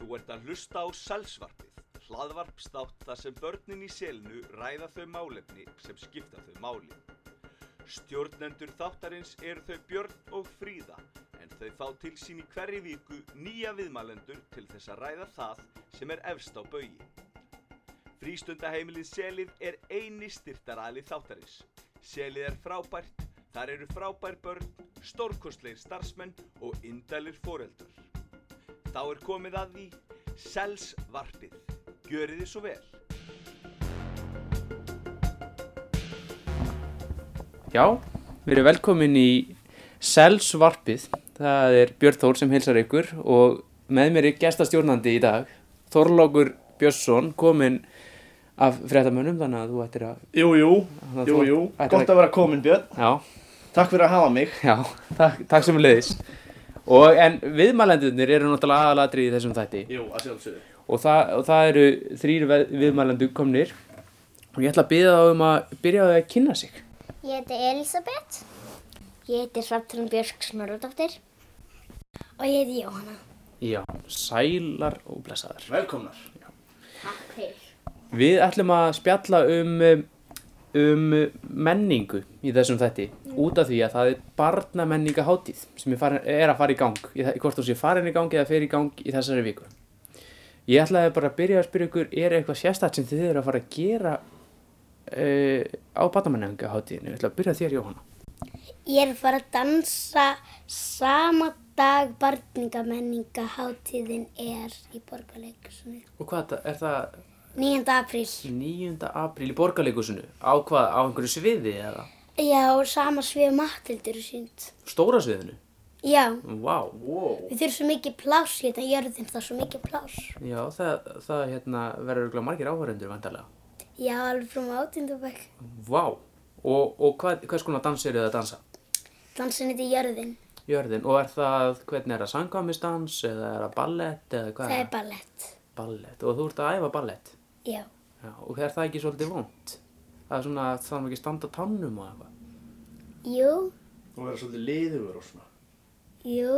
Þú ert að hlusta á Sælsvarpið, hlaðvarpstátt þar sem börnin í selinu ræða þau málefni sem skipta þau máli. Stjórnendur þáttarins eru þau Björn og Fríða, en þau fá til sín í hverri viku nýja viðmælendur til þess að ræða það sem er efst á baugi. Frístundaheimilið Selið er eini styrtaræli þáttarins. Selið er frábært, þar eru frábær börn, stórkostleir starfsmenn og indælir foreldur. Þá er komið að því Selsvarpið. Gjörið þið svo vel. Já, við erum velkomin í Selsvarpið. Það er Björn Þór sem heilsar ykkur og með mér er gestastjórnandi í dag. Þorlókur Björnsson kominn af fréttamönnum þannig að þú ættir að... Jú, jú, að jú, þú- jú, ætlar gott að vera komin Björn, Já, takk fyrir að hafa mig já, takk, takk sem leiðis. Og en viðmælendurnir eru náttúrulega aðalatrið í þessum þætti Jú, að sjálfsögðu og það, og það eru þrýr viðmælendur komnir og ég ætla að byrja þá um að byrja á því að kynna sig. Ég heiti Elisabeth. Ég heiti Svartrún Björk Snorðardóttir. Og ég heiti Jóhanna. Já, sælar og blessaðar. Velkomnar Takk fyrir. Við ætlum að spjalla um, um, um menningu í þessum þætti út af því að það er barnamenningahátíð sem er, farin, er að fara í gang, í þa- hvort þú sé farin í gang eða fer í gang í þessari viku. Ég ætlaði bara að byrja að spyrja ykkur, er eitthvað sérstætt sem þið eru að fara að gera uh, á barnamenningahátíðinu? Ég ætla að byrja þér, Jóhanna. Ég er að fara að dansa sama dag barningamenninga hátíðin er í borgarleikursunni. Og hvað er það 9. apríl. 9. apríl í borgarleikusinu? Á hvað, á einhverju sviði eða Já, sama svið matildur er sínt. stóra sviðinu? Já, Vá. wow. við þurfum svo mikið pláss hérna í jörðin, það er svo mikið pláss. Já, það, það hérna, verður örugglega margir áhverjendur vantarlega. Já, alveg frá átindabæk. Vá, og, og hvað, hvers konar dans eru það að dansa? Dansin þetta í jörðin. Jörðin, og er það, hvernig er það sangkvæmisdans eða er það ballett eða hvað? Það er ballett. ballett og þú ert að æfa ballett. Já. Já, og er það ekki svolítið vond? Það er svona, það er ekki að standa á tánum og eitthvað. Jú, Og vera svolítið liðugur og svona jú,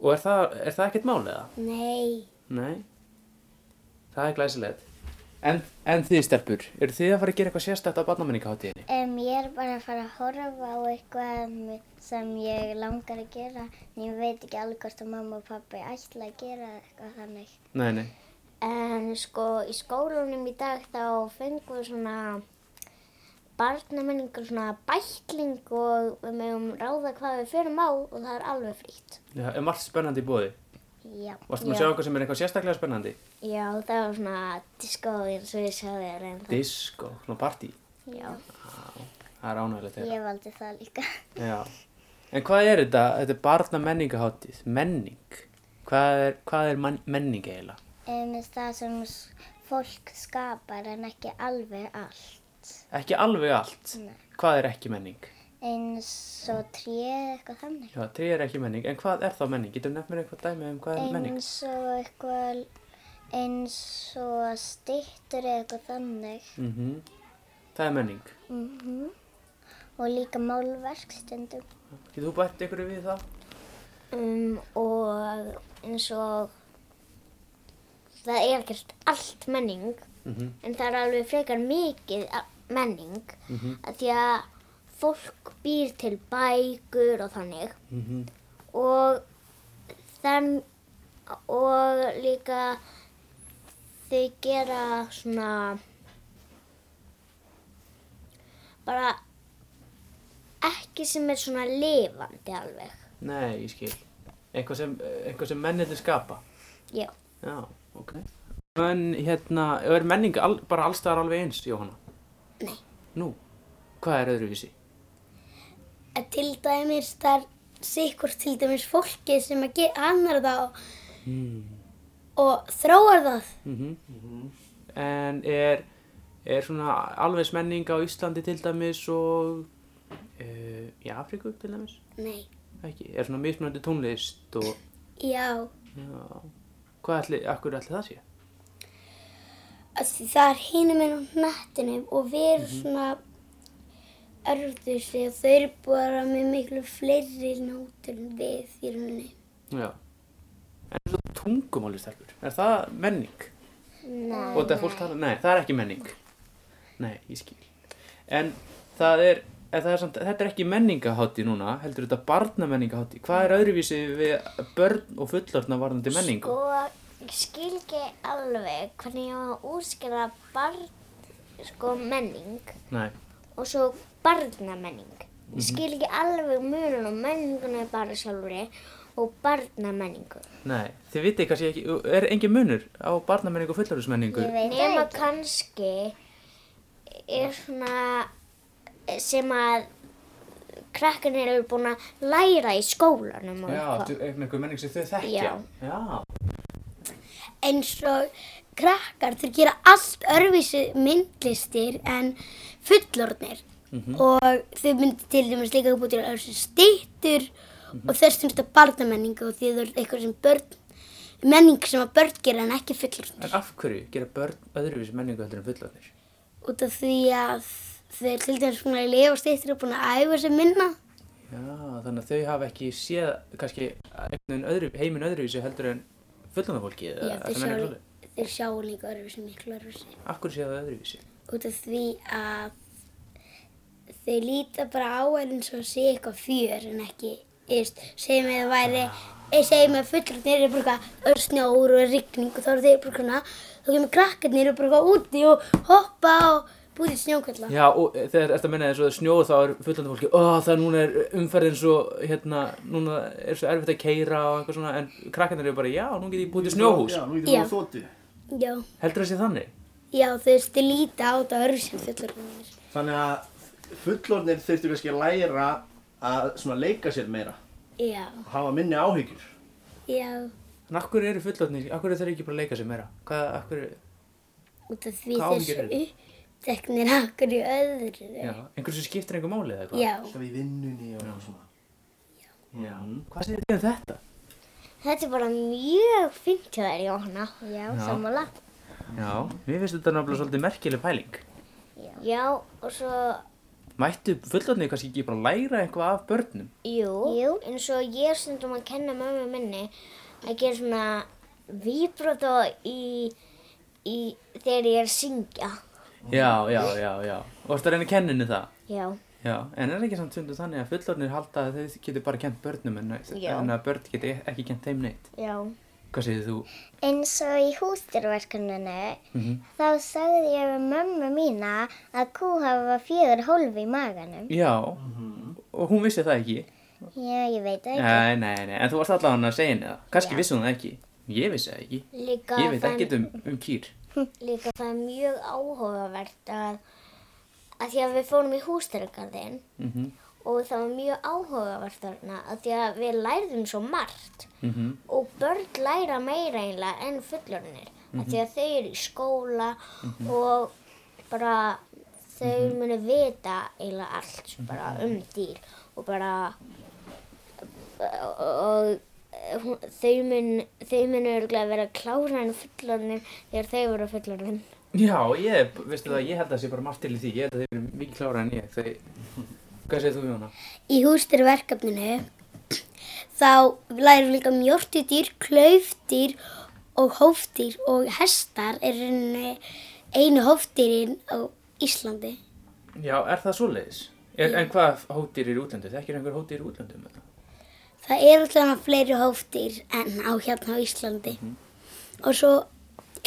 Og er það, er það ekkert mál eða? nei. Nei, það er glæsilegt. En, en þið stelpur, eru þið að fara að gera eitthvað sérstætt á barnamenningahátíðinni? Um, ég er bara að fara að horfa á eitthvað m- sem ég langar að gera en ég veit ekki alveg hvort að mamma og pappi ætla að gera eitthvað þannig. Nei, nei. En sko í skólanum í dag þá fengum við svona barnamenningur, svona bækling og við mögum ráða hvað við förum á og það er alveg frítt. Já, er margt spennandi í bóði? Já. Varstu maður að já. sjá eitthvað sem er eitthvað sérstaklega spennandi? Já, það var svona disco eins og ég sagði þér en það. Disco, svona partí. Já, Það er ánægilegt þeirra. ég valdi það líka. Já. En hvað er þetta? Þetta er barna menningaháttið. Menning. Hvað er, hvað er man, menning eiginlega? Um, það sem s- fólk skapar en ekki alveg allt. Ekki alveg allt. Nei. Hvað er ekki menning? Eins og tré eitthvað þannig. Já, trí er ekki menning. En hvað er þá menning? Getur nefnir eitthvað dæmi um hvað er menning? Eins og eitthvað, eins og styttur eða eitthvað þannig. Mm Það er menning. Og líka málverk stundum. Getur þú bætt ykkur við það? Um, og eins og, það er ekkert allt menning, Mhm. en það er alveg frekar mikið a- menning. Mm Því að fólk býr til bækur og þannig. Mm og þann og líka þau gera svona bara ekki sem er svona lifandi alveg Nei, ég skil. Eitthvað sem, eitthvað sem mennirnir skapa. já, Já, ok. En hérna, er menning al, bara allstaðar alveg eins, Jóhanna? Nei. Nú, hvað er öðruvísi? að til dæmis það er sikur til dæmis fólkið sem að ge- hannar það og, og þróar það. Mhm. En er, er svona alvegs menning á Íslandi til dæmis og uh, í Afríku til dæmis? Nei, Ekki, er svona mismunandi tónlist og já, já, hvað ætli, akkur ætli það sé? að því það er hinum en á hnattinu og við erum svona örðusi og þau eru bara með miklu fleiri nótur en við í rauninni. Já, En svo tungumáli stelpur, er það menning? Nei. Og það fólk tala, nei, það er ekki menning. Nei, ég skil. En það er, en það er samt, þetta er ekki menningahátti núna, heldur þetta barnamenningahátti. Hvað er öðruvísi við börn og fullorðna varðandi menningu? Sko, ég skil ekki alveg hvernig ég á að útskýra barn, sko, menning Nei, og svo barnamenning. Mhm. Ég skil ekki alveg munum á menninguna í bara sjálfri og barnamenningu. nei, þið vitið kannski ekki, er engin munur á barnamenningu og fullorðismenningu? veit Nema kannski er svona sem að krakkarnir eru búin að læra í skólanum og Já, eitthvað. þú- einhver menning sem þau þekkja. Já. Já. eins og krakkar þeir gera allt örvísu myndlistir en fullorðnir Mhm. og þau myndi til dæmis líka upp út í örvísu stýttur Mhm. og þess finnst það barnamenningu og því það er eitthvað sem börn menning sem að börn gera en ekki fullorðnir En af hverju gera börn öðruvísi menningu heldur en fullorðnir? út af því að þau er til dæmis búin að lifa stýttur og búin að æfa sig minna Já, þannig að þau hafa ekki séð kannski einhvern veginn öðru, heiminn öðruvísi heldur en fullorðna fólki? eða- Já, er þeir það menning sjá, svoleiðis? þeir sjá líka örvísu miklu örvísu um- Af hverju séu það öðruvísi? út af því að þau líta bara á hann eins og sé eitthvað fjör en ekki, eðst, segjum við að væri Ah. eh, segjum við að fullorðnir eru bara eitthvað öll snjór og rigning og þá eru þeir bara svona þá kemur krakkarnir og bara eitthvað úti og hoppa og búið til snjókvölda Já, og eh, þegar þetta menna eins og það snjóð þá er fullandi fólki, ó það er núna er umferðin svo, hérna, núna er svo erfitt að keira og eitthvað svona, en krakkarnir eru bara, já, nú get ég búið til snjóhús. Já, nú getur við Já. að þóttu. já, Heldur það sé þannig? já þau veist, þau líta á þetta öll sem fullorðnir Þannig að fullorðnir þurftu kannski að læra að svona leika sér meira. já, Hafa minni áhyggjur. já, En akkur eru fullandi, akkur eru þeir ekki bara að leika sér meira? Hvað, akkur, út af því Hvað þeir áhyggjur svo uppteknir af hverju öðru já, einhversu skiptir einhver máli eða eitthvað? já, Það við vinnunni og eitthvað svona. Já. Mhm. Hvað segir þið um þetta? Þetta er bara mjög fint hjá þér, Jóhanna. Já, Já. sammála. Já, mér finnst þetta náttúrulega svolítið merkileg pæling. Já. Já, og svo, Mættu fullandi kannski ekki bara læra eitthvað af börnum? jú, jú. eins og ég er stundum að kenna mömmu minni að gera svona víbroto í, í, þegar ég er að syngja. Já, já, já, já. Og ertu að reyna að kenna henni það? Já, Já, en er ekki samt stundu þannig að fullornir halda að þau getur bara kent börnum en, Já. en að börn getur ekki kent þeim neitt? já. Hvað segir þú? Eins og í hústyrverkuninu, Mhm. þá sagði ég við mömmu mína að kú hafa fjögur hólfi í maganum. Já, og hún vissi það ekki. Já, ég veit það ekki. Nei, nei, nei, en þú varst allavega að segja henni það. Kannski vissi hún það ekki. Ég vissi það ekki. Líka Ég veit það- ekkert um, um kýr. Líka það er mjög áhugavert að, að því að við fórum í hústyrgarðin Mm -hmm. og það var mjög áhugavert þarna að því að við lærðum svo margt og börn læra meira einlega en fullornir mm að því að þau eru í skóla og bara þau munu vita eiginlega allt bara um dýr og bara og, og hún- þau mun þau munu örugglega vera klára en fullornir þegar þau voru fullornir Já, ég, veistu það, ég held að það sé bara margt til í því. Ég held að þau eru mikið klára en ég. Þau... Hvað segir þú, Jóna? Í húsdýrverkefninu þá lærum við líka um jórtudýr, klaufdýr og hófdýr og hestar er einu, einu hófdýrin á Íslandi. Já, er það svoleiðis? Er, en hvað hóttir eru í útlöndum? Þekkir einhver hóttir í útlöndum? eða? Það eru alltaf fleiri hófdýr en á hérna á Íslandi. Og svo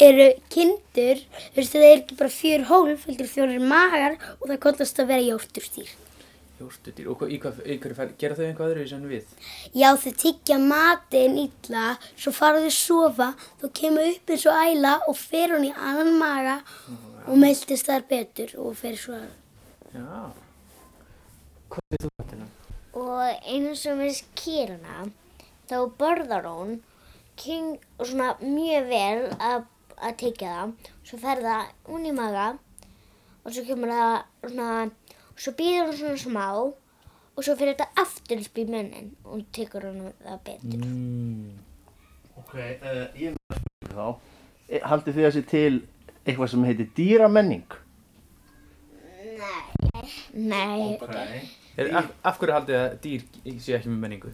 eru kindur, þú veist það er ekki bara fjör hólf, heldur fjórir magar og það kontast að vera jórturdýr. Jórtudýr, og hvað, í hvað, í hverju fær, gera þau einhvað öðru sem við? Já, þau tyggja matinn illa, svo fara þau að sofa, þá kemur upp eins og æla og fer hún í annan maga og meldist þar betur og fer svo að... Já. Hvað er þú hættina? og eins og með kýrana þá borðar hún king, svona mjög vel að, að tekja það svo fer það hún í maga og svo kemur það svona svo býður hún svona smá og svo fyrir þetta aftur upp í munnin og tekur hún það betur Mm. Ok, uh, ég er með þá. Eh, Haldið þið að sé til eitthvað sem heitir dýramenning? nei, Er, af, af hverju haldið þið að dýr séu ekki með menningu?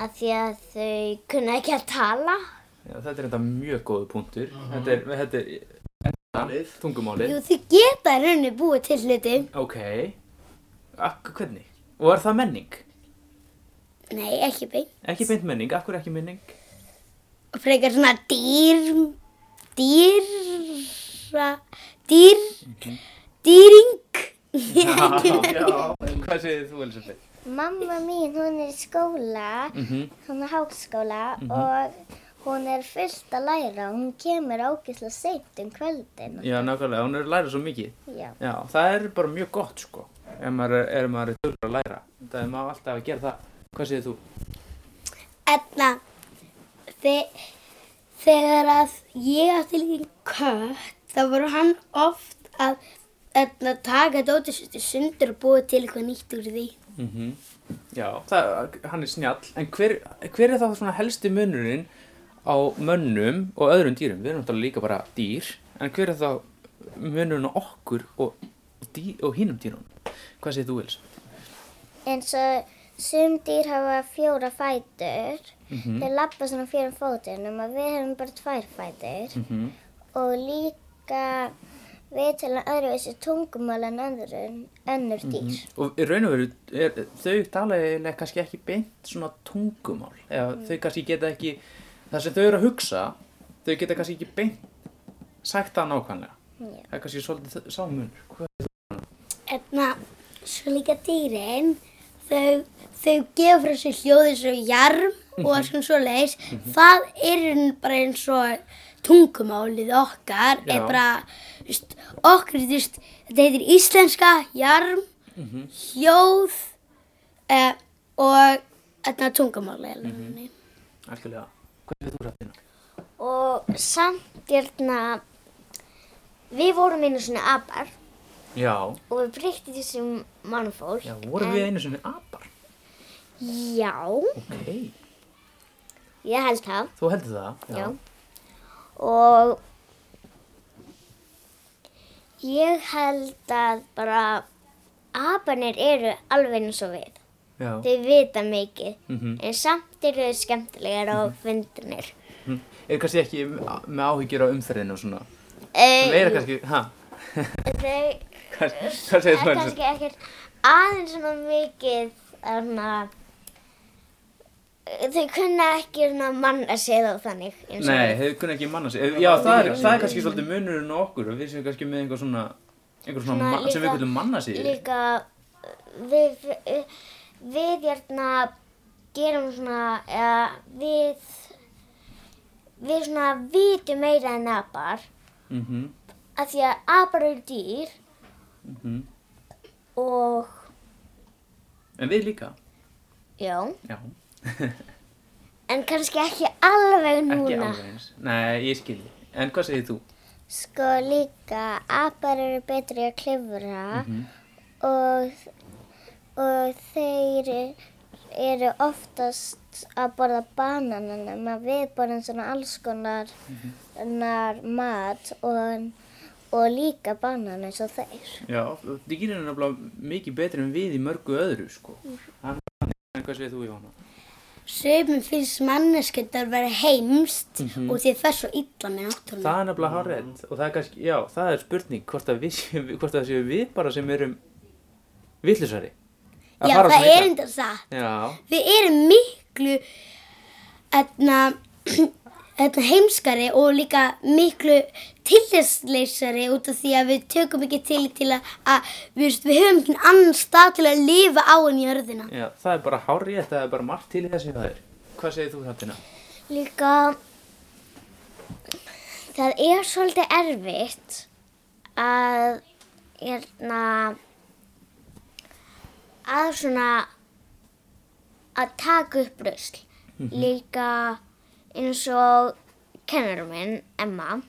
af því að þau kunna ekki að tala Já, þetta er þetta mjög góðu punktur. Þetta er, þetta er, Málið. Mhm. tungumálið. Jú, þið geta í rauninni búið til hluti. Ok. Ak hvernig? Og er það menning? Nei, ekki beint. Ekki beint menning, akkur ekki menning? Og frekar svona dýr, dýra, dýr, dýring. Hvað segir þú, Elisabeth? Mamma mín, hún er í skóla, Mhm. hún er háskóla og hún er fullt að læra. Hún kemur ágislega seint um kvöldin. Já, nákvæmlega, hún er að læra svo mikið. Já. Já, það er bara mjög gott, sko. Ef maður er, ef maður er duglur að læra. Það er maður alltaf að gera það. Hvað segir þú? Edna, þe þegar að ég átti líka kött, þá voru hann oft að Edna taka dótið sýttu sundur og búið til eitthvað nýtt úr því. Mm Já, það, hann er snjall. En hver, hver er þá svona helsti munurinn á mönnum og öðrum dýrum? Við erum náttúrulega líka bara dýr. En hver er þá munurinn á okkur og, dý, og hínum dýrum? Hvað segir þú, Elsa? En svo sum dýr hafa fjóra fætur. Mhm. Þeir lappa svona fjórum fótur nema við hefum bara tvær fætur. Mhm. Og líka við tala öðruvísi tungumál en önnur, önnur Mhm. dýr. Og í raun og veru, er, þau tala eiginlega kannski ekki beint svona tungumál. Eða Mm. þau kannski geta ekki, það sem þau eru að hugsa, þau geta kannski ekki beint sagt það nákvæmlega. Já. Það er kannski svolítið sámunur. Hvað? Edna, Hérna, svo líka dýrin, þau, þau gefa frá sér hljóðið svo jarm Mhm. og svona svo leis. Það er í rauninni bara eins og tungumálið okkar, Já. er bara, þú veist, okkur, þú veist, þetta heitir íslenska, jarm, Mhm. hljóð eh, og þetta tungumáli. Mhm. Mm -hmm. Algjörlega. Hvað er þú rættina? Og samt hérna, við vorum einu svona abar Já. og við breytti þessum mannfólk. Já, vorum við einu sinni apar? Já, Ok. ég held það. Þú heldur það? Já. Og ég held að bara aparnir eru alveg eins og við. Já. Þau vita mikið, Mhm. en samt eru þau skemmtilegar og fyndinir. Mhm. Er kannski ekki með áhyggjur á umferðinu og svona? Það Þau, er kannski, hæ? þau Hvað, hvað segir er þú eins og? kannski ekkert aðeins svona mikið, þarna, þau kunna ekki svona manna sig þá þannig. eins og Nei, við. þau kunna ekki manna sig. Já, það er, það er kannski svolítið munurinn á okkur og við séum kannski með einhver svona, einhver svona, Svona ma- sem við líka- kallum manna sig. líka uh, við, við, við hérna gerum svona eða við við svona vitum meira en apar Mm af því að apar eru dýr Mhm. og En við líka. já Já, en kannski ekki alveg núna ekki alveg eins. Nei, ég skilji. En hvað segir þú? sko líka apar eru betri að klifra og og þeir eru oftast að borða bananana maður við borðum svona alls konar nar mat og, og líka banan eins og þeir Já, dýrin er náttúrulega mikið betri en við í mörgu öðru, sko. Það er þannig. En hvað segir þú, Jóhanna? Sumum finnst manneskjöndar vera heimst og því það er svo illa með náttúrulega. Mhm. Það er nefnilega hárrið og það er kannski, já, það er spurning hvort að við séum, hvort að það séum við bara sem erum villusari. Já, það er enda það. Já, Við erum miklu etna, etna hérna, heimskari og líka miklu tilhjastleysari út af því að við tökum ekki til til að, að við, veist, við höfum ekki annan stað til að lifa á enn jörðina. já, það er bara hárrið, það er bara margt til í þessu það er. Hvað segir þú, Hrafnina? líka það er svolítið erfitt að hérna að svona að taka upp rusl líka eins og kennarum minn, Emma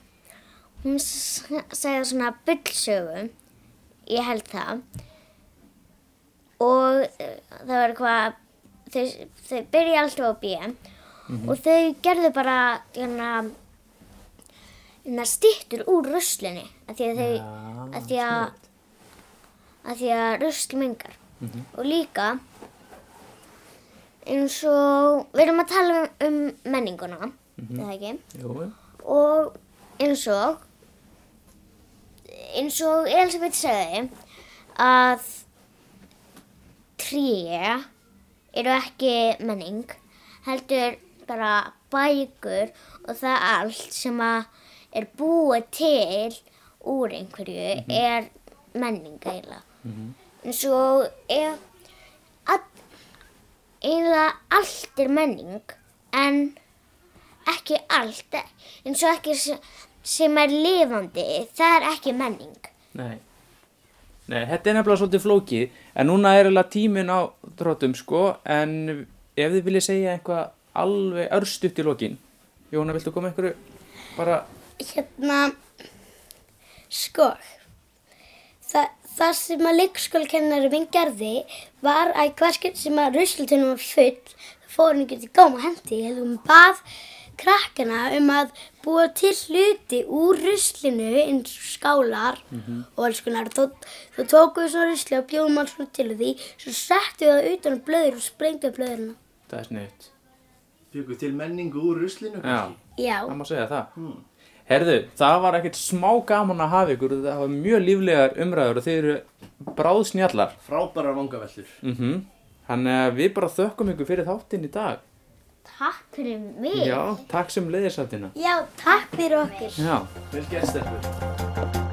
hún s- sagði svona bullsögu ég held það og eh, það var eitthvað þau, þau byrja alltaf á B og þau gerðu bara hérna, hérna stittur úr ruslinni að því að þau Já, að því að að því að rusl mengar og líka eins og við erum að tala um, um menninguna eða ekki? Jú, og eins og eins og Elisabeth sagði að tré eru ekki menning heldur bara bækur og það allt sem að er búið til úr einhverju er menning eiginlega eins og ef all, eiginlega allt er menning en ekki allt, eins og ekki s- sem er lifandi, það er ekki menning. Nei. Nei, þetta er nefnilega svolítið flókið en núna er alveg tíminn á þróttum sko en ef þið viljið segja eitthvað alveg örstutt í lokin Jóna, viltu koma einhverju bara Hérna, sko, það, það sem að leikskólakennari minn gerði var að í hvert skil sem að ruslatunum var full, fór hann ekki til góm og hendi, hefði hún bað krakkana um að búa til hluti úr ruslinu eins og skálar og alls konar. Þó, þó tókum við svona rusli og bjóðum alls konar til úr því, svo settum við það utan á blöður og sprengtum blöðurna. það er sniðut Fjögur til menningu úr ruslinu Já, Já. það má segja það Herðu, það var ekkert smá gaman að hafa ykkur það var mjög líflegar umræður og þið eru bráðsnjallar Frábærar vangaveltur mm Þannig að við bara þökkum ykkur fyrir þáttinn í dag Takk fyrir mig. Já, takk sem leiðisáttina Já, takk fyrir okkur. Já Vel gert stelpur Takk.